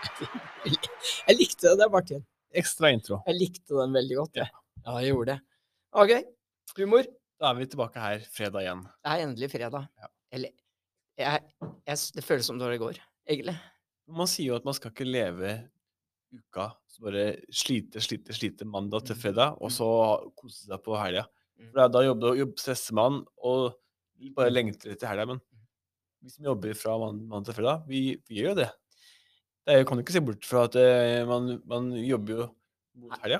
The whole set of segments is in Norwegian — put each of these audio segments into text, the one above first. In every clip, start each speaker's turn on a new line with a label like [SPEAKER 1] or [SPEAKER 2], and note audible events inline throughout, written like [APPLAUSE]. [SPEAKER 1] Jeg likte det der, Martin.
[SPEAKER 2] Ekstra intro.
[SPEAKER 1] Jeg likte den veldig godt. Jeg. Ja, jeg gjorde det. OK. Humor.
[SPEAKER 2] Da er vi tilbake her fredag igjen.
[SPEAKER 1] Det er endelig fredag.
[SPEAKER 2] Ja.
[SPEAKER 1] Eller jeg, jeg, s- Det føles som det var i går, egentlig.
[SPEAKER 2] Man sier jo at man skal ikke leve uka så bare slite, slite, slite mandag til
[SPEAKER 1] Mm.
[SPEAKER 2] fredag, og så kose seg på helga.
[SPEAKER 1] Mm.
[SPEAKER 2] For da- da jobber, jobb, stresser man og bare lengter etter helga.
[SPEAKER 1] Mm.
[SPEAKER 2] Men vi som jobber fra man- mandag til fredag, vi, vi gjør jo det. Det er, jo- kan du ikke se bort fra at eh, man, man jobber jo mot helga.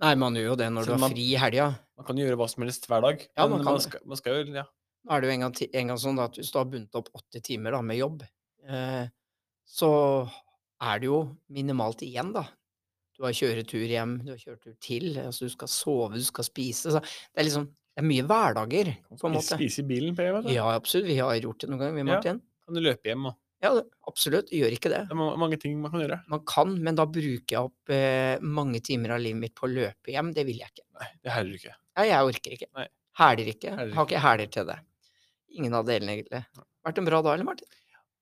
[SPEAKER 1] Nei, man gjør jo det når
[SPEAKER 2] Så
[SPEAKER 1] du har
[SPEAKER 2] man-
[SPEAKER 1] fri i helga.
[SPEAKER 2] Man kan jo gjøre hva som helst hver dag.
[SPEAKER 1] Ja, man
[SPEAKER 2] men
[SPEAKER 1] kan
[SPEAKER 2] man
[SPEAKER 1] det.
[SPEAKER 2] skal, man skal jo ja,
[SPEAKER 1] Nå er det jo en gang, ti- en gang sånn da, at hvis du har bundet opp 80 timer da, med jobb, eh, så er det jo minimalt igjen, da. Du har kjøretur hjem, du har kjøretur til, altså du skal sove, du skal spise. Så det er liksom det er mye hverdager, på en
[SPEAKER 2] spise-
[SPEAKER 1] måte.
[SPEAKER 2] spise i bilen. Per, vet du.
[SPEAKER 1] Ja, absolutt. Vi har gjort det noen ganger, vi,
[SPEAKER 2] Ja.
[SPEAKER 1] Martin.
[SPEAKER 2] Kan du løpe hjem og
[SPEAKER 1] Ja, det- absolutt. Gjør ikke det.
[SPEAKER 2] Det er ma- mange ting man kan gjøre.
[SPEAKER 1] Man kan, men da bruker jeg opp eh, mange timer av livet mitt på å løpe hjem. Det vil jeg ikke.
[SPEAKER 2] Nei, det herjer du ikke.
[SPEAKER 1] Nei, jeg orker ikke.
[SPEAKER 2] Nei.
[SPEAKER 1] Hæler ikke.
[SPEAKER 2] Hæler
[SPEAKER 1] Har ikke hæler til det. Ingen av delene, egentlig. Vært en bra dag, eller, Martin?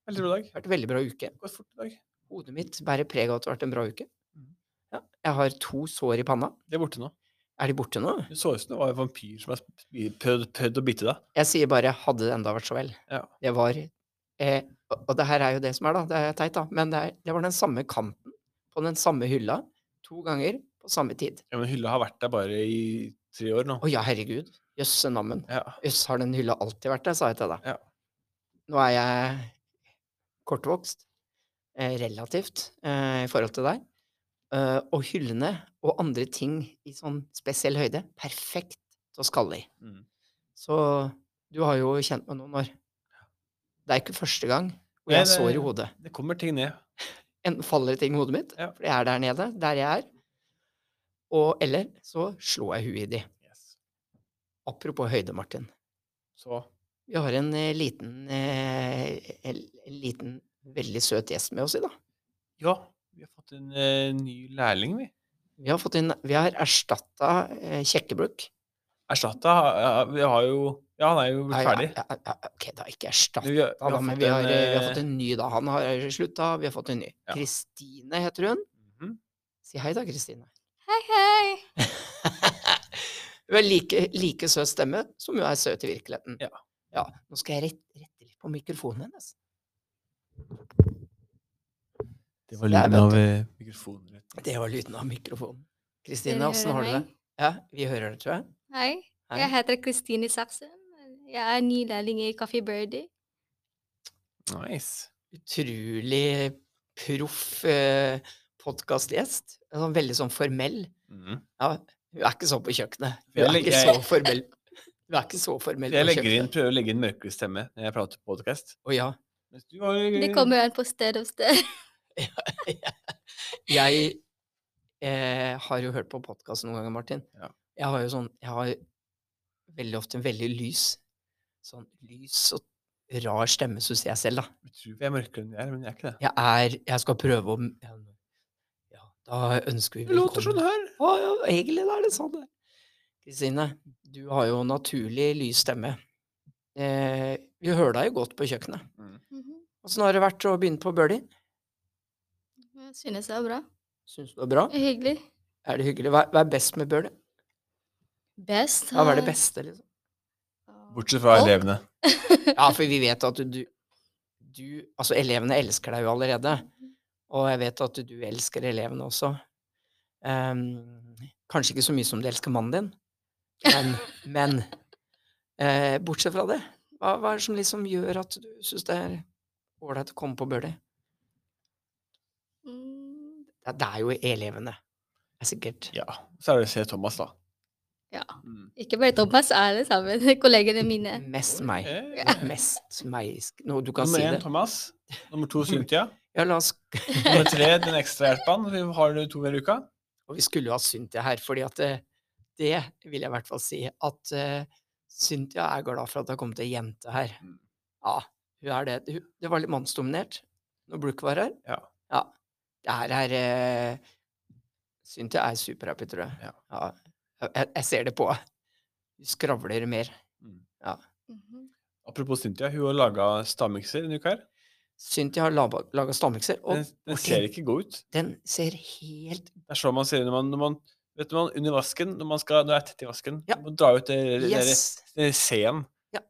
[SPEAKER 2] Veldig bra dag.
[SPEAKER 1] Vært en veldig bra uke.
[SPEAKER 2] Det går fort i dag.
[SPEAKER 1] Hodet mitt bærer preg av at det har vært en bra uke.
[SPEAKER 2] Mhm.
[SPEAKER 1] Ja, jeg har to sår i panna.
[SPEAKER 2] Det er borte nå.
[SPEAKER 1] Er de borte nå?
[SPEAKER 2] Det så ut som det var en vampyr som har sp- prøvd, prøvd å bite deg.
[SPEAKER 1] Jeg sier bare 'hadde det enda vært så vel'.
[SPEAKER 2] Ja.
[SPEAKER 1] Det var eh, Og og det her er jo det som er, da. Det er teit, da. Men det, er, det var den samme kanten på den samme hylla to ganger på samme tid.
[SPEAKER 2] Ja, men hylla har vært der bare i tre år nå.
[SPEAKER 1] Å ja, herregud. Jøsse nammen.
[SPEAKER 2] Ja.
[SPEAKER 1] Jøss, har den hylla alltid vært der, sa jeg til deg.
[SPEAKER 2] Ja.
[SPEAKER 1] Nå er jeg kortvokst, eh, relativt, eh, i forhold til deg. Eh, og hyllene og andre ting i sånn spesiell høyde, perfekt til å skalle i.
[SPEAKER 2] Mm.
[SPEAKER 1] Så du har jo kjent meg noen år. Det er ikke første gang hvor
[SPEAKER 2] Nei,
[SPEAKER 1] jeg har sår
[SPEAKER 2] det-
[SPEAKER 1] i hodet.
[SPEAKER 2] Det kommer ting ned.
[SPEAKER 1] Enten faller det ting i hodet mitt,
[SPEAKER 2] Ja.
[SPEAKER 1] for det er der nede, der jeg er, og eller så slår jeg huet i de. Apropos høyde, Martin.
[SPEAKER 2] Så
[SPEAKER 1] Vi har en eh, liten, eh, en en liten, veldig søt gjest med oss i dag.
[SPEAKER 2] ja, vi har fått en eh, ny lærling, vi.
[SPEAKER 1] Vi har, fått inn, vi har erstatta eh, Kjekkebruk.
[SPEAKER 2] Erstatta ja, Vi har jo Ja, han er jo
[SPEAKER 1] Nei,
[SPEAKER 2] blitt ferdig.
[SPEAKER 1] ja, ja, ja, Ok, da ikke
[SPEAKER 2] Men
[SPEAKER 1] erstatta,
[SPEAKER 2] Vi har, vi
[SPEAKER 1] da,
[SPEAKER 2] har
[SPEAKER 1] men
[SPEAKER 2] fått
[SPEAKER 1] vi har, eh, vi har
[SPEAKER 2] eh,
[SPEAKER 1] fått en ny da. Han har slutta, vi har fått en ny.
[SPEAKER 2] Ja.
[SPEAKER 1] Kristine heter hun.
[SPEAKER 2] mhm.
[SPEAKER 1] Si hei da, Kristine. [LAUGHS]
[SPEAKER 3] Hei, hei.
[SPEAKER 1] Hun har like, like søt stemme som hun er søt i virkeligheten.
[SPEAKER 2] Ja.
[SPEAKER 1] Ja, Nå skal jeg rett- rette litt på mikrofonen hennes.
[SPEAKER 2] Det var
[SPEAKER 1] Der,
[SPEAKER 2] lyden
[SPEAKER 1] vet
[SPEAKER 2] av eh, mikrofonen. rett.
[SPEAKER 1] Det var lyden av mikrofonen. Kristine,
[SPEAKER 3] Dere
[SPEAKER 1] åssen
[SPEAKER 3] hører
[SPEAKER 1] har du det?
[SPEAKER 3] meg?
[SPEAKER 1] Ja, vi hører det, tror jeg.
[SPEAKER 3] Eh, Hei.
[SPEAKER 1] Hei.
[SPEAKER 3] Jeg heter Kristine Saksen. Jeg er ny lærling i Coffee Birdie.
[SPEAKER 2] Nice.
[SPEAKER 1] utrolig proff eh, podkastgjest. En Sånn, veldig sånn formell.
[SPEAKER 2] Mhm.
[SPEAKER 1] Hun er ikke sånn på kjøkkenet. Hun
[SPEAKER 2] Jeg
[SPEAKER 1] er
[SPEAKER 2] legger-
[SPEAKER 1] ikke så formell. Hun er ikke så formell på
[SPEAKER 2] Jeg legger inn,
[SPEAKER 1] kjøkkenet.
[SPEAKER 2] prøver å legge inn mørkere stemme når jeg prater podkast.
[SPEAKER 1] Å ja.
[SPEAKER 3] Det kommer an på sted og sted.
[SPEAKER 1] Jeg eh, har jo hørt på podkast noen ganger, Martin.
[SPEAKER 2] Ja.
[SPEAKER 1] Jeg har jo sånn Jeg har veldig ofte en veldig lys Sånn lys og rar stemme, syns jeg selv, da.
[SPEAKER 2] Jeg tror vi er mørkere enn vi er, men jeg er ikke det.
[SPEAKER 1] Jeg er Jeg skal prøve å Ja, da ønsker vi
[SPEAKER 2] Det låter sånn her.
[SPEAKER 1] Å, ja, egentlig er det sånn det. Kristine, du har jo naturlig lys stemme. Eh, vi hører deg jo godt på kjøkkenet.
[SPEAKER 3] Mhm.
[SPEAKER 1] Åssen har det vært å begynne på Bøhli?
[SPEAKER 3] [LAUGHS] Jeg synes det er bra.
[SPEAKER 1] Syns du det er bra?
[SPEAKER 3] Hyggelig.
[SPEAKER 1] Er det hyggelig? Hva, hva er best med Bøhli?
[SPEAKER 3] Best. Ah.
[SPEAKER 1] Ja, hva er
[SPEAKER 3] eh,
[SPEAKER 1] det beste, liksom?
[SPEAKER 2] Bortsett fra
[SPEAKER 3] Folk.
[SPEAKER 2] elevene.
[SPEAKER 1] Ja, for vi vet at du, du Altså, elevene elsker deg jo allerede. Og jeg vet at du elsker elevene også. Ehm, kanskje ikke så mye som du elsker mannen din, men, men eh, Bortsett fra det, hva, hva er det som liksom gjør at du syns det er ålreit å komme på Bøhli?
[SPEAKER 3] Mm,
[SPEAKER 1] Ja, det er jo elevene. Det er sikkert.
[SPEAKER 2] Ja. Så er det å se Thomas, da.
[SPEAKER 3] Ja.
[SPEAKER 2] Mm.
[SPEAKER 3] Ikke bare Thomas, alle sammen. [LAUGHS] Kollegene mine.
[SPEAKER 1] Mest meg.
[SPEAKER 2] Ok.
[SPEAKER 1] Mest meg. sk- Nå, du kan
[SPEAKER 2] Nummer
[SPEAKER 1] si
[SPEAKER 2] én
[SPEAKER 1] det.
[SPEAKER 2] Thomas. Nummer [LAUGHS] to Cynthia.
[SPEAKER 1] Ja, la oss
[SPEAKER 2] Nummer tre den ekstra hjelpen. Vi har det to hver uke.
[SPEAKER 1] Og vi skulle jo hatt Cynthia her, fordi at det, det vil jeg i hvert fall si, at eh, Cynthia er glad for at det har kommet ei jente her.
[SPEAKER 2] Mm.
[SPEAKER 1] Ja, hun er det. Hun, det var litt mannsdominert når Brook var her.
[SPEAKER 2] Ja.
[SPEAKER 1] Det her er eh, Cynthia er superhappy, tror jeg.
[SPEAKER 2] Ja.
[SPEAKER 1] Jeg, jeg ser det på henne. Hun skravler mer.
[SPEAKER 3] Mhm.
[SPEAKER 1] Mm.
[SPEAKER 2] Apropos Cynthia, hun har laga stavmikser denne uka her.
[SPEAKER 1] Synd de har laga stavmikser. Og
[SPEAKER 2] Den, den
[SPEAKER 1] Martin.
[SPEAKER 2] ser ikke god ut.
[SPEAKER 1] den ser helt
[SPEAKER 2] Det er sånn man ser når man, når man Vet du, man, under vasken, når man skal, når det er tett i vasken,
[SPEAKER 1] Ja.
[SPEAKER 2] må man dra ut det, det, det,
[SPEAKER 1] Yes!
[SPEAKER 2] det seen.
[SPEAKER 1] Ja.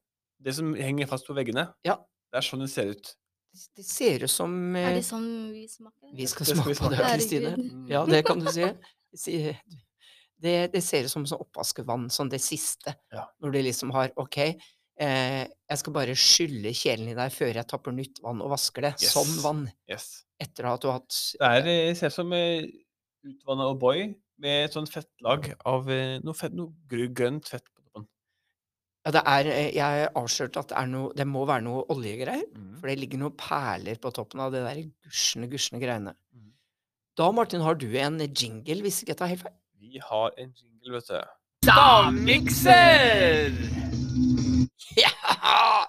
[SPEAKER 2] Det som henger fast på veggene.
[SPEAKER 1] Ja.
[SPEAKER 2] Det er sånn det ser ut.
[SPEAKER 1] Det ser ut som
[SPEAKER 3] Er
[SPEAKER 1] eh,
[SPEAKER 3] det sånn vi smaker?
[SPEAKER 1] Vi skal
[SPEAKER 2] Det skal vi
[SPEAKER 1] smake på det,
[SPEAKER 2] smake.
[SPEAKER 1] Kristine.
[SPEAKER 3] Herregud.
[SPEAKER 2] Mm.
[SPEAKER 1] Ja, det kan du si. Si- Det, det ser ut som sånn oppvaskevann, sånn det siste.
[SPEAKER 2] Ja.
[SPEAKER 1] Når du liksom har OK, eh, jeg skal bare skylle kjelen i deg før jeg tapper nytt vann og vasker det.
[SPEAKER 2] Yes.
[SPEAKER 1] Som vann.
[SPEAKER 2] Yes.
[SPEAKER 1] Etter at du har hatt
[SPEAKER 2] Det er, eh, ser ut som eh, utvanna O'boy med et sånt fettlag av eh, noe, fett, noe gr- grønt fett på toppen.
[SPEAKER 1] Ja, det er eh, Jeg avslørte at det er noe Det må være noe oljegreier.
[SPEAKER 2] Mm.
[SPEAKER 1] For det ligger noen perler på toppen av det der gusjende, gusjende greiene.
[SPEAKER 2] Mhm.
[SPEAKER 1] Da, Martin, har du en jingle, hvis ikke jeg tar helt feil.
[SPEAKER 2] Vi har en jingle, vet du.
[SPEAKER 1] Stavmikser! [LAUGHS] Ja!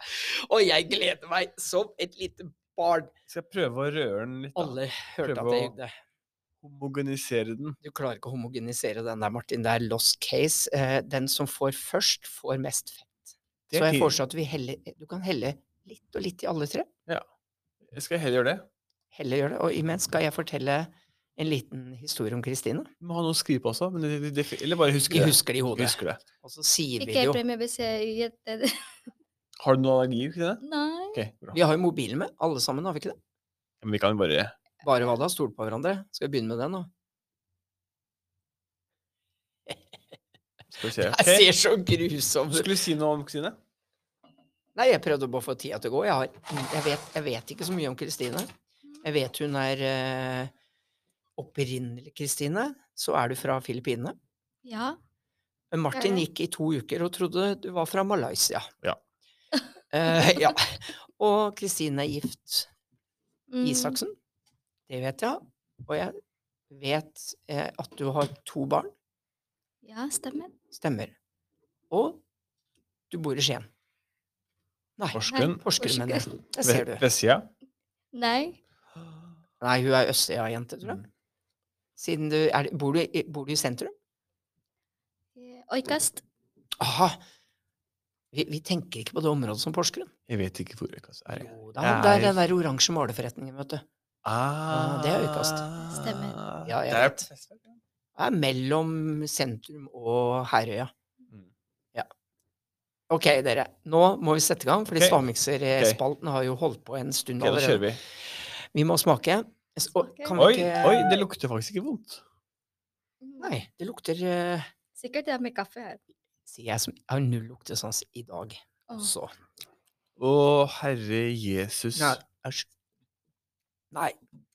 [SPEAKER 1] Og jeg gleder meg som et lite barn.
[SPEAKER 2] Jeg skal prøve å røre den litt. Da.
[SPEAKER 1] Alle hørte at
[SPEAKER 2] Prøve
[SPEAKER 1] jeg
[SPEAKER 2] å-
[SPEAKER 1] gjorde det.
[SPEAKER 2] Homogenisere den.
[SPEAKER 1] Du klarer ikke å homogenisere den der, Martin. Det er lost case. Eh, Den som får først, får mest fett.
[SPEAKER 2] Det
[SPEAKER 1] Så
[SPEAKER 2] er
[SPEAKER 1] jeg
[SPEAKER 2] fint.
[SPEAKER 1] foreslår at vi heller Du kan helle litt og litt i alle tre.
[SPEAKER 2] Jeg skal heller gjøre det.
[SPEAKER 1] Helle gjør det. Og imens skal jeg fortelle en liten historie om Kristine.
[SPEAKER 2] Du må ha noe å skrive på også. Men det, det, det, eller bare huske
[SPEAKER 1] Vi
[SPEAKER 2] det.
[SPEAKER 1] husker det i hodet.
[SPEAKER 2] Husker det.
[SPEAKER 1] Og så sier vi
[SPEAKER 3] Ikke
[SPEAKER 1] jo
[SPEAKER 3] premie hvis jeg gjetter det.
[SPEAKER 2] Har du noen allergier? Kristine?
[SPEAKER 3] [LAUGHS] Nei.
[SPEAKER 2] Ok, bra.
[SPEAKER 1] Vi har jo mobilen med, alle sammen, har vi ikke det?
[SPEAKER 2] Men vi kan bare
[SPEAKER 1] Bare hva da? Stol på hverandre? Skal vi begynne med den nå?
[SPEAKER 2] Skal vi se.
[SPEAKER 1] Jeg
[SPEAKER 2] Ok.
[SPEAKER 1] ser så grusom
[SPEAKER 2] Du
[SPEAKER 1] ut.
[SPEAKER 2] skulle si noe om Kristine?
[SPEAKER 1] Nei, jeg prøvde bare å få tida til å gå. Jeg, har, jeg, vet, jeg vet ikke så mye om Kristine. Jeg vet hun er eh, opprinnelig Kristine. Så er du fra Filippinene.
[SPEAKER 3] Ja.
[SPEAKER 1] Men Martin
[SPEAKER 3] ja.
[SPEAKER 1] gikk i to uker og trodde du var fra Malaysia.
[SPEAKER 2] Ja.
[SPEAKER 1] [LAUGHS] Eh, ja. Og Kristine er gift
[SPEAKER 3] Mm.
[SPEAKER 1] Isaksen. Det vet jeg. Og jeg vet eh, at du har to barn.
[SPEAKER 3] Ja, stemmer.
[SPEAKER 1] Stemmer. Og du bor i Skien. Nei,
[SPEAKER 2] Porsgrunn?
[SPEAKER 1] Porsgrunn, mener jeg. Det ser du.
[SPEAKER 2] Ve- Vestsida?
[SPEAKER 3] Nei.
[SPEAKER 1] Nei, hun er Østøya-jente, tror jeg.
[SPEAKER 2] Mm.
[SPEAKER 1] Siden du er, bor, du, i- bor du i sentrum?
[SPEAKER 3] Eh, Oikast.
[SPEAKER 1] Aha! Vi, vi tenker ikke på det området som Porsgrunn.
[SPEAKER 2] Jeg vet ikke hvor Øykast er. jeg.
[SPEAKER 1] Jo, da,
[SPEAKER 2] Jeg
[SPEAKER 1] det er
[SPEAKER 2] er-
[SPEAKER 1] den der oransje maleforretningen, vet du.
[SPEAKER 2] Ah,
[SPEAKER 1] det er Øykast.
[SPEAKER 3] Stemmer.
[SPEAKER 1] Ja, jeg
[SPEAKER 2] det er
[SPEAKER 1] vet. Det er mellom sentrum og Herøya.
[SPEAKER 2] Mm.
[SPEAKER 1] Ja. Ok, dere. Nå må vi sette i gang, fordi
[SPEAKER 2] Ok.
[SPEAKER 1] stavmikserspalten har jo holdt på en stund
[SPEAKER 2] Ok, da kjører
[SPEAKER 1] allerede.
[SPEAKER 2] vi.
[SPEAKER 1] Vi må smake. S- og
[SPEAKER 3] Smake.
[SPEAKER 1] kan vi
[SPEAKER 2] Oi,
[SPEAKER 1] ikke-
[SPEAKER 2] oi, det lukter faktisk ikke vondt.
[SPEAKER 1] Nei, det lukter eh,
[SPEAKER 3] Sikkert det er med kaffe her.
[SPEAKER 1] Sier jeg som jeg har null luktesans i dag
[SPEAKER 3] Åh.
[SPEAKER 1] også.
[SPEAKER 2] Å, herre Jesus.
[SPEAKER 1] Nei, æsj. Nei,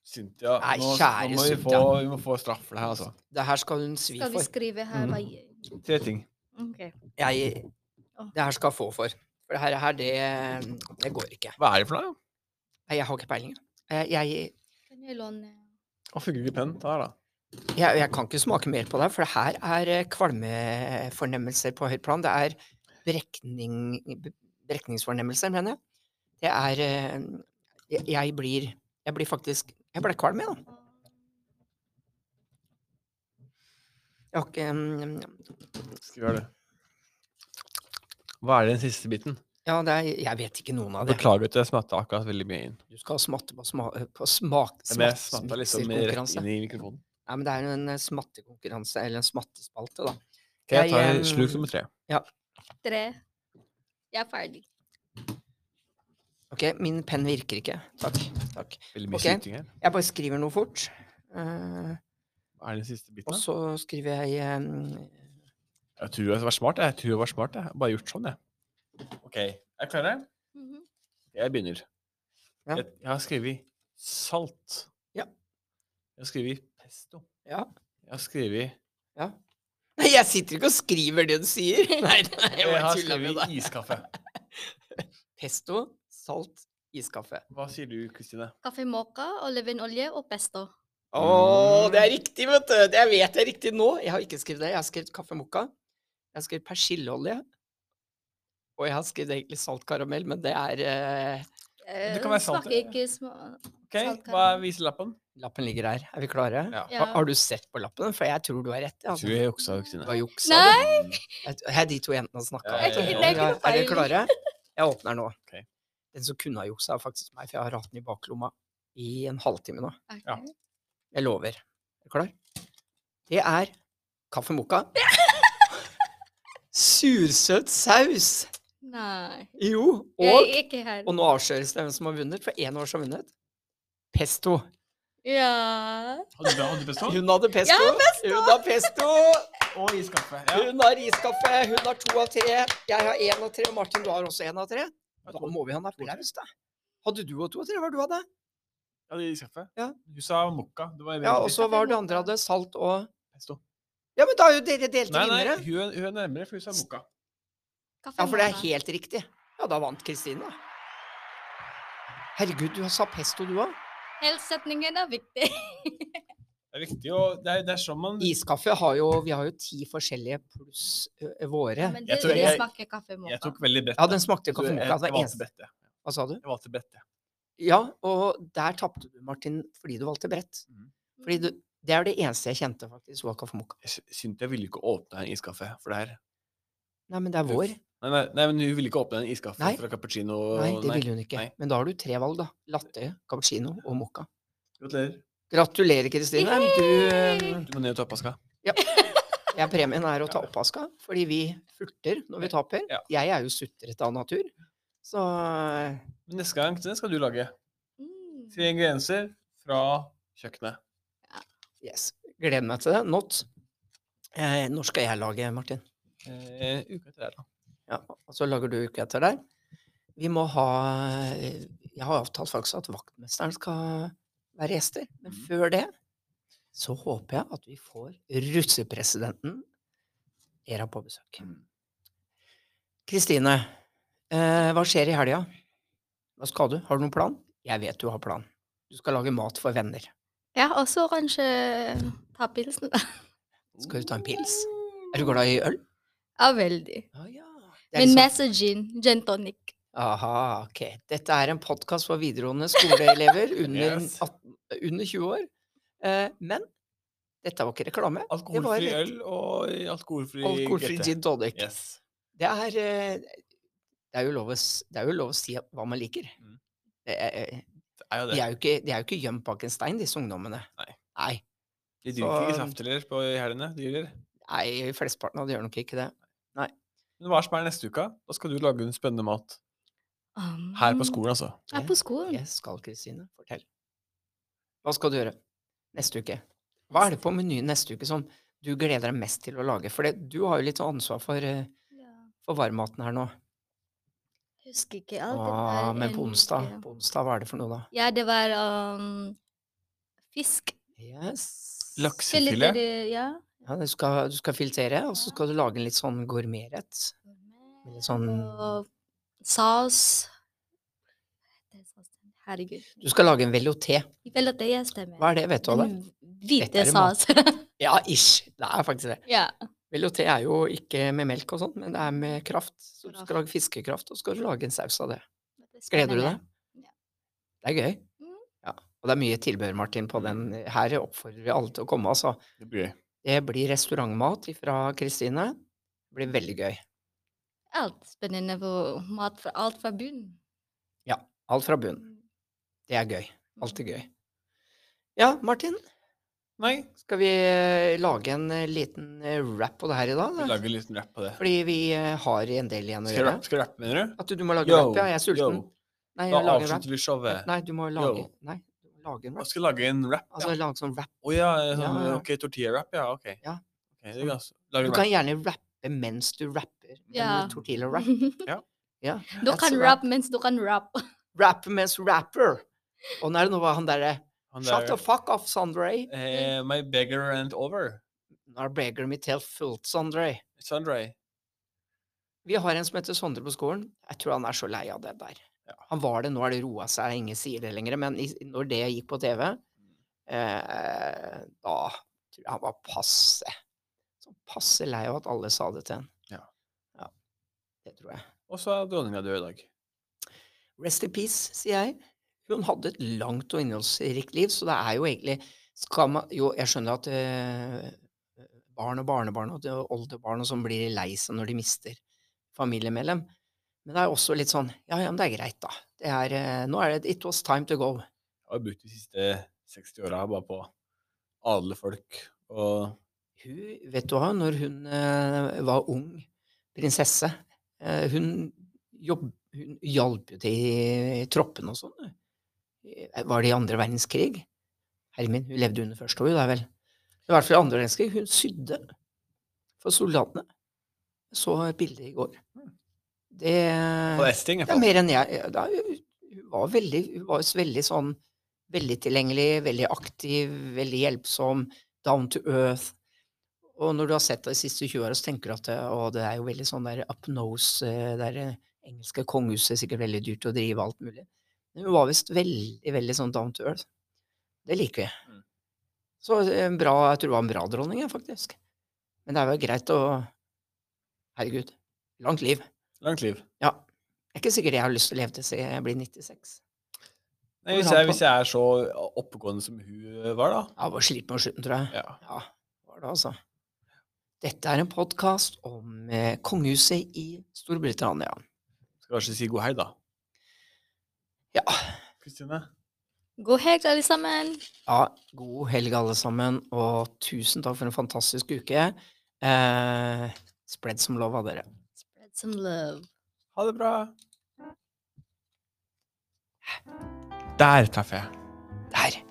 [SPEAKER 2] Cynthia,
[SPEAKER 1] Nei,
[SPEAKER 2] nå,
[SPEAKER 1] kjære
[SPEAKER 2] nå må vi,
[SPEAKER 1] Cynthia.
[SPEAKER 2] få, vi må få straff for det her, altså.
[SPEAKER 1] det her skal hun svi
[SPEAKER 3] Skal vi
[SPEAKER 1] for.
[SPEAKER 3] skrive
[SPEAKER 1] Mm.
[SPEAKER 3] her hva
[SPEAKER 2] Tre ting.
[SPEAKER 3] Ok.
[SPEAKER 1] Jeg,
[SPEAKER 3] Åh.
[SPEAKER 1] det her skal hun få for. For det her, her det, det går ikke.
[SPEAKER 2] Hva er det for noe?
[SPEAKER 1] Nei, Jeg har ikke peiling. Jeg, jeg,
[SPEAKER 3] Kan jeg låne
[SPEAKER 2] Å, funker ikke pennen? Ta her, da.
[SPEAKER 1] jeg, jeg kan ikke smake mer på det, her, for det her er eh, kvalmefornemmelser på høyt plan. Det er brekning, brekningsfornemmelser, mener jeg. Det er eh, Jeg, jeg blir Jeg blir faktisk Jeg ble kvalm, jeg, da. Jeg har ikke mm,
[SPEAKER 2] Skal vi gjøre det. Hva er den siste biten?
[SPEAKER 1] Ja, det er, jeg vet ikke noen av det.
[SPEAKER 2] Beklager at jeg smatta akkurat veldig mye inn.
[SPEAKER 1] Du skal smatte på, sma, på smak...
[SPEAKER 2] Men jeg
[SPEAKER 1] smatt-
[SPEAKER 2] smatta liksom rett
[SPEAKER 1] mikserkonkurranse.
[SPEAKER 2] inn i mikrofonen.
[SPEAKER 1] Nei, men det er jo en eh, smattekonkurranse, eller en smattespalte, da.
[SPEAKER 2] Ok, jeg
[SPEAKER 1] Jeg,
[SPEAKER 2] tar
[SPEAKER 1] em,
[SPEAKER 2] sluk nummer tre.
[SPEAKER 3] tre? Jeg er ferdig.
[SPEAKER 1] Ok, min penn virker ikke. Takk. Takk.
[SPEAKER 2] Veldig mye
[SPEAKER 1] ok.
[SPEAKER 2] syting her.
[SPEAKER 1] Jeg bare skriver noe fort. eh,
[SPEAKER 2] Hva er den siste biten?
[SPEAKER 1] og
[SPEAKER 2] da?
[SPEAKER 1] så skriver jeg eh,
[SPEAKER 2] Jeg tror jeg var smart. jeg. Jeg tror jeg var smart. Jeg har bare gjort sånn, jeg. Ok, er dere klare?
[SPEAKER 3] Mhm.
[SPEAKER 2] Jeg begynner.
[SPEAKER 1] Ja.
[SPEAKER 2] Jeg, jeg har skrevet salt.
[SPEAKER 1] Ja.
[SPEAKER 2] Jeg har skrevet pesto.
[SPEAKER 1] Ja.
[SPEAKER 2] Jeg har skrevet
[SPEAKER 1] Nei, jeg sitter ikke og skriver det du sier! [LAUGHS] Nei, nei jeg
[SPEAKER 2] Jeg
[SPEAKER 1] bare
[SPEAKER 2] har
[SPEAKER 1] tulla med
[SPEAKER 2] skrevet
[SPEAKER 1] deg.
[SPEAKER 2] iskaffe.
[SPEAKER 1] Pesto, salt, iskaffe.
[SPEAKER 2] Hva sier du, Kristine?
[SPEAKER 3] Kaffe mocha, olivenolje og pesto.
[SPEAKER 1] Å,
[SPEAKER 2] Mm.
[SPEAKER 1] det er riktig, vet du! Det jeg vet jeg er riktig nå. Jeg har ikke skrevet det. Jeg har skrevet kaffe mokka. Jeg har skrevet persilleolje. Og jeg har skrevet egentlig saltkaramell, men det er eh,
[SPEAKER 3] Eh,
[SPEAKER 2] kan være salt,
[SPEAKER 3] smaker
[SPEAKER 2] ja.
[SPEAKER 3] ikke sma-
[SPEAKER 2] Ok,
[SPEAKER 3] Saltkaramell.
[SPEAKER 2] hva viser lappen?
[SPEAKER 1] Lappen ligger her. Er vi klare?
[SPEAKER 2] Ja.
[SPEAKER 3] Ja.
[SPEAKER 1] Ha, har du sett på lappen? For jeg tror du har rett. ja, Altså.
[SPEAKER 2] Tror jeg juksa,
[SPEAKER 1] Det
[SPEAKER 2] Kristine.
[SPEAKER 1] var juks. sa du.
[SPEAKER 3] Nei!
[SPEAKER 1] Jeg- Her er de to jentene har snakka.
[SPEAKER 2] Ja, ja, ja, ja.
[SPEAKER 1] Er dere klare? Jeg åpner nå.
[SPEAKER 2] Ok.
[SPEAKER 1] Den som kunne ha juksa, er faktisk meg, for jeg har hatt den i baklomma i en halvtime nå.
[SPEAKER 3] Ok.
[SPEAKER 2] Ja.
[SPEAKER 1] Jeg lover. Er du klar? Det er kaffe mokka. Sursøt saus!
[SPEAKER 3] Nei.
[SPEAKER 1] Jo,
[SPEAKER 3] Jeg
[SPEAKER 1] og,
[SPEAKER 3] er ikke her.
[SPEAKER 1] og nå avsløres det hvem som har vunnet, for én år som har vunnet. Pesto.
[SPEAKER 3] Ja.
[SPEAKER 2] Hadde du hadde bestått?
[SPEAKER 1] Hun hadde pesto.
[SPEAKER 3] Ja,
[SPEAKER 1] Hun har pesto!
[SPEAKER 2] Og iskaffe. Ja.
[SPEAKER 1] Hun har iskaffe. Hun har to av tre. Jeg har én av tre, og Martin, du har også én av tre. Da må vi ha en applaus, da. Hadde du og to av tre? Hva du hadde
[SPEAKER 2] Jeg hadde iskaffe.
[SPEAKER 1] Ja.
[SPEAKER 2] Du sa mokka. Det var
[SPEAKER 1] Ja, og så var det andre hadde salt og Ja, men da er jo dere delte
[SPEAKER 2] Nei, nei,
[SPEAKER 1] vinnere.
[SPEAKER 2] hun, er- hun er nærmere, for hun sa mokka.
[SPEAKER 3] Kaffe
[SPEAKER 1] Ja, for det er
[SPEAKER 3] mocha.
[SPEAKER 1] helt riktig. Ja, da vant Kristine. Herregud, du sa pesto, du òg.
[SPEAKER 3] Helsetningen er viktig.
[SPEAKER 2] Det er viktig å Det er, det er sånn
[SPEAKER 1] Mm.
[SPEAKER 2] man
[SPEAKER 1] Iskaffe har jo Vi har jo ti forskjellige pluss ø, ø, våre.
[SPEAKER 3] [LAUGHS] Men
[SPEAKER 2] Jeg
[SPEAKER 3] det,
[SPEAKER 2] tror
[SPEAKER 3] det
[SPEAKER 2] jeg-
[SPEAKER 3] smaker kaffe mocha.
[SPEAKER 2] Jeg tok veldig bredt.
[SPEAKER 1] Ja, den smakte
[SPEAKER 2] Så jeg-
[SPEAKER 1] kaffe mocha. Det
[SPEAKER 2] Jeg valgte
[SPEAKER 1] eneste.
[SPEAKER 2] bredt, jeg.
[SPEAKER 1] Hva sa du?
[SPEAKER 2] Jeg valgte bredt, jeg.
[SPEAKER 1] Ja, og der tapte du, Martin, fordi du valgte bredt.
[SPEAKER 3] Mm.
[SPEAKER 1] Fordi du, det er det eneste jeg kjente, faktisk, var kaffe mocha.
[SPEAKER 2] Jeg sy- syntes jeg ville ikke åpne en iskaffe for det her.
[SPEAKER 1] Nei, men det er vår.
[SPEAKER 2] Nei, nei, nei, men hun ville ikke åpne en iskaffe
[SPEAKER 1] Nei.
[SPEAKER 2] fra cappuccino.
[SPEAKER 1] Nei, det ville hun ikke.
[SPEAKER 2] nei.
[SPEAKER 1] Men da har du tre valg, da. Latte, cappuccino og mocha.
[SPEAKER 2] Gratulerer.
[SPEAKER 1] Gratulerer, Kristine. Du ø,
[SPEAKER 2] Du må ned og ta oppvaska.
[SPEAKER 1] Ja, premien er å ta oppvaska, fordi vi furter når vi taper.
[SPEAKER 2] Ja.
[SPEAKER 1] Jeg er jo sutrete av natur, så eh,
[SPEAKER 2] Men neste gang den skal du lage.
[SPEAKER 3] Mm.
[SPEAKER 2] Tre ingredienser fra kjøkkenet.
[SPEAKER 1] yes. Gleder meg til det. Not. Eh, når skal jeg lage, Martin?
[SPEAKER 2] Eh, uka etter der, da.
[SPEAKER 1] Ja, og så lager du uke etter der. Vi må ha eh, Jeg har avtalt faktisk at vaktmesteren skal være gjester, men
[SPEAKER 2] Mhm.
[SPEAKER 1] før det så håper jeg at vi får russepresidenten Era på besøk. Kristine, eh, hva skjer i helga? Hva skal du? Har du noen plan? Jeg vet du har plan. Du skal lage mat for venner.
[SPEAKER 3] Ja, og så kanskje ta pilsen. da.
[SPEAKER 1] Skal du ta en pils? Er du glad i øl?
[SPEAKER 3] [LAUGHS] Ja, veldig.
[SPEAKER 1] Ja, ja. Det er
[SPEAKER 3] Men
[SPEAKER 1] liksom-
[SPEAKER 3] mest gin. Gin tonic.
[SPEAKER 1] Aha, ok. Dette er en podkast for videregående
[SPEAKER 2] [LAUGHS]
[SPEAKER 1] skoleelever under,
[SPEAKER 2] Yes.
[SPEAKER 1] 18, under 20 år. Eh, men dette var ikke reklame. Det var
[SPEAKER 2] Alkoholfri
[SPEAKER 1] litt-
[SPEAKER 2] øl og alkoholfri,
[SPEAKER 1] Alkoholfri
[SPEAKER 2] GT.
[SPEAKER 1] gin tonic.
[SPEAKER 2] Yes.
[SPEAKER 1] Det er, eh, det, er jo lov å, s- det er jo lov å si hva man liker.
[SPEAKER 2] Mm.
[SPEAKER 1] Det er, eh,
[SPEAKER 2] Det er jo
[SPEAKER 1] de
[SPEAKER 2] det.
[SPEAKER 1] er jo ikke- de er jo ikke gjemt bak en stein, disse ungdommene.
[SPEAKER 2] Nei.
[SPEAKER 1] Nei.
[SPEAKER 2] De drikker ikke
[SPEAKER 1] Så-
[SPEAKER 2] saft heller på i helgene. De gjør det.
[SPEAKER 1] Nei, flesteparten av de gjør nok ikke det.
[SPEAKER 2] Men hva som er neste uke? Da skal du lage en spennende mat.
[SPEAKER 3] Um,
[SPEAKER 2] Her på skolen, altså.
[SPEAKER 3] Ja, på skolen.
[SPEAKER 1] Jeg skal, Kristine. Fortell. Mm. Hva skal du gjøre neste uke? Hva er det på menyen neste uke som du gleder deg mest til å lage? For det, du har jo litt sånn ansvar for, eh,
[SPEAKER 3] Ja.
[SPEAKER 1] for varmmaten her nå.
[SPEAKER 3] Husker ikke alt. det
[SPEAKER 1] Ah,
[SPEAKER 3] var
[SPEAKER 1] men
[SPEAKER 3] en
[SPEAKER 1] på onsdag,
[SPEAKER 3] uke.
[SPEAKER 1] på onsdag, hva er det for noe da?
[SPEAKER 3] Ja, det var um, fisk.
[SPEAKER 1] Yes.
[SPEAKER 2] Laksefilet.
[SPEAKER 3] Eller, Ja.
[SPEAKER 1] Ja, du skal, du skal filtrere, og så skal du lage en litt sånn gourmetrett. Med litt sånn
[SPEAKER 3] Og saus. Det er saus. Herregud.
[SPEAKER 1] Du skal lage en velouté.
[SPEAKER 3] Vel at det jeg stemmer.
[SPEAKER 1] Hva er det, vet du av det?
[SPEAKER 3] Den
[SPEAKER 1] Dette
[SPEAKER 3] Hvite
[SPEAKER 1] er mat.
[SPEAKER 3] saus. [LAUGHS]
[SPEAKER 1] Ja, ish. Det er faktisk det.
[SPEAKER 3] ja.
[SPEAKER 1] Velouté er jo ikke med melk og sånn, men det er med kraft. Så du
[SPEAKER 3] Kraft.
[SPEAKER 1] skal lage fiskekraft, og så skal du lage en saus av det.
[SPEAKER 3] Det er
[SPEAKER 1] Gleder du
[SPEAKER 3] spennende.
[SPEAKER 1] deg? Det er gøy.
[SPEAKER 3] Mm.
[SPEAKER 1] Ja. Og det er mye tilbehør, Martin, på den. Her oppfordrer vi alle til å komme. Altså.
[SPEAKER 2] Det blir gøy.
[SPEAKER 1] Det blir restaurantmat fra Kristine. Det blir veldig gøy.
[SPEAKER 3] Alt spennende på mat fra alt fra bunnen.
[SPEAKER 1] Alt fra bunn.
[SPEAKER 3] Mm.
[SPEAKER 1] Det er gøy. Alt
[SPEAKER 3] [LAUGHS]
[SPEAKER 1] er gøy. Ja, Martin,
[SPEAKER 2] Nei,
[SPEAKER 1] skal vi eh, lage en eh, liten eh, wrap på det her i dag?
[SPEAKER 2] vi
[SPEAKER 1] Da?
[SPEAKER 2] lager en liten rap på det.
[SPEAKER 1] Fordi vi eh, har en del igjen å
[SPEAKER 2] Skal jeg
[SPEAKER 1] gjøre.
[SPEAKER 2] rappe, skal jeg rappe, mener du?
[SPEAKER 1] At du, du må lage
[SPEAKER 2] Yo,
[SPEAKER 1] wrap, ja. Jeg er sulten.
[SPEAKER 2] yo.
[SPEAKER 1] Nei,
[SPEAKER 2] Da
[SPEAKER 1] jeg lager en
[SPEAKER 2] avslutter vi
[SPEAKER 1] wrap.
[SPEAKER 2] showet.
[SPEAKER 1] Nei, du må lage
[SPEAKER 2] Yo.
[SPEAKER 1] Nei, du må lage en
[SPEAKER 2] Jeg
[SPEAKER 1] wrap.
[SPEAKER 2] skal lage en rap, ja.
[SPEAKER 1] Altså lage sånn wrap.
[SPEAKER 2] Å ja, sånn,
[SPEAKER 1] Ja, ja.
[SPEAKER 2] ok, tortilla-wrap, ja, ok.
[SPEAKER 1] Ja.
[SPEAKER 2] Ok, det er ganske, lager
[SPEAKER 1] Du
[SPEAKER 2] en
[SPEAKER 1] kan
[SPEAKER 2] wrap.
[SPEAKER 1] gjerne rappe mens du rapper.
[SPEAKER 3] Ja.
[SPEAKER 1] En tortilla-wrap. Ja.
[SPEAKER 3] du
[SPEAKER 1] that's
[SPEAKER 3] kan
[SPEAKER 1] a wrap.
[SPEAKER 3] rap mens du kan rap.
[SPEAKER 1] Rapper mens rapper. Og nå er det noe av han derre
[SPEAKER 2] Han
[SPEAKER 1] Shut
[SPEAKER 2] der,
[SPEAKER 1] the fuck off, Sondre.
[SPEAKER 2] eh, my beggar and over.
[SPEAKER 1] Nå er beggar mitt helt fullt, Sondre.
[SPEAKER 2] Sandray.
[SPEAKER 1] Vi har en som heter Sondre på skolen. Jeg tror han er så lei av det der.
[SPEAKER 2] Ja.
[SPEAKER 1] Han var det, nå er det roa seg, ingen sier det lenger. Men i, når det gikk på TV, eh, da tror jeg han var passe. Så passe lei av at alle sa det til han.
[SPEAKER 2] Ja.
[SPEAKER 1] ja. Det tror jeg.
[SPEAKER 2] Og så er dronninga død i dag.
[SPEAKER 1] Rest in peace, sier jeg. Hun hadde et langt og innholdsrikt liv, så det er jo egentlig skal man, Jo, jeg skjønner at eh, barn og barnebarn og det- og oldebarn og sånn blir lei seg når de mister familiemedlem, men det er jo også litt sånn Ja, ja, men det er greit, da. Det er, eh, nå er det It was time to go.
[SPEAKER 2] Jeg har brukt de siste 60 åra bare på å adle folk. Og
[SPEAKER 1] Hun, vet du hva, når hun eh, var ung prinsesse eh, Hun, jobb, hun hjalp jo til i troppene og sånn. hun. Eh, Var det i andre verdenskrig? Herre min, hun levde under første år, da vel. I hvert fall i andre verdenskrig. Hun sydde for soldatene. Jeg så et bilde i går. Det, eh,
[SPEAKER 2] på esting, i
[SPEAKER 1] det er
[SPEAKER 2] hvert fall.
[SPEAKER 1] mer enn jeg da, Hun var veldig, hun var veldig sånn Veldig tilgjengelig, veldig aktiv, veldig hjelpsom, down to earth. Og når du har sett det de siste 20 åra, så tenker du at å, det er jo veldig sånn der up nose eh, Det er, eh, engelske kongehuset er sikkert veldig dyrt å drive alt mulig. Men hun var visst veldig, veldig sånn down to earth. Det liker vi.
[SPEAKER 2] Mm.
[SPEAKER 1] Så en bra, jeg tror det var en bra dronning, jeg, faktisk. Men det er jo greit å Herregud. Langt liv.
[SPEAKER 2] Langt liv.
[SPEAKER 1] Ja. Det er ikke sikkert jeg har lyst til å leve til jeg blir 96.
[SPEAKER 2] Nei,
[SPEAKER 1] Kommer
[SPEAKER 2] hvis,
[SPEAKER 1] an
[SPEAKER 2] jeg,
[SPEAKER 1] på.
[SPEAKER 2] hvis jeg er så oppegående som hun var, da
[SPEAKER 1] Jeg var sliten på slutten, tror jeg.
[SPEAKER 2] ja.
[SPEAKER 1] Ja, det var det altså. Dette er en podkast om eh, kongehuset i Storbritannia.
[SPEAKER 2] Skal kanskje si god helg, da.
[SPEAKER 1] Ja.
[SPEAKER 2] Kristine?
[SPEAKER 3] God helg, alle sammen.
[SPEAKER 1] Ja, god helg, alle sammen, og tusen takk for en fantastisk uke. Eh, Spredd som lov av dere.
[SPEAKER 3] Spread some love.
[SPEAKER 2] Ha det bra. Der traff jeg.
[SPEAKER 1] Der.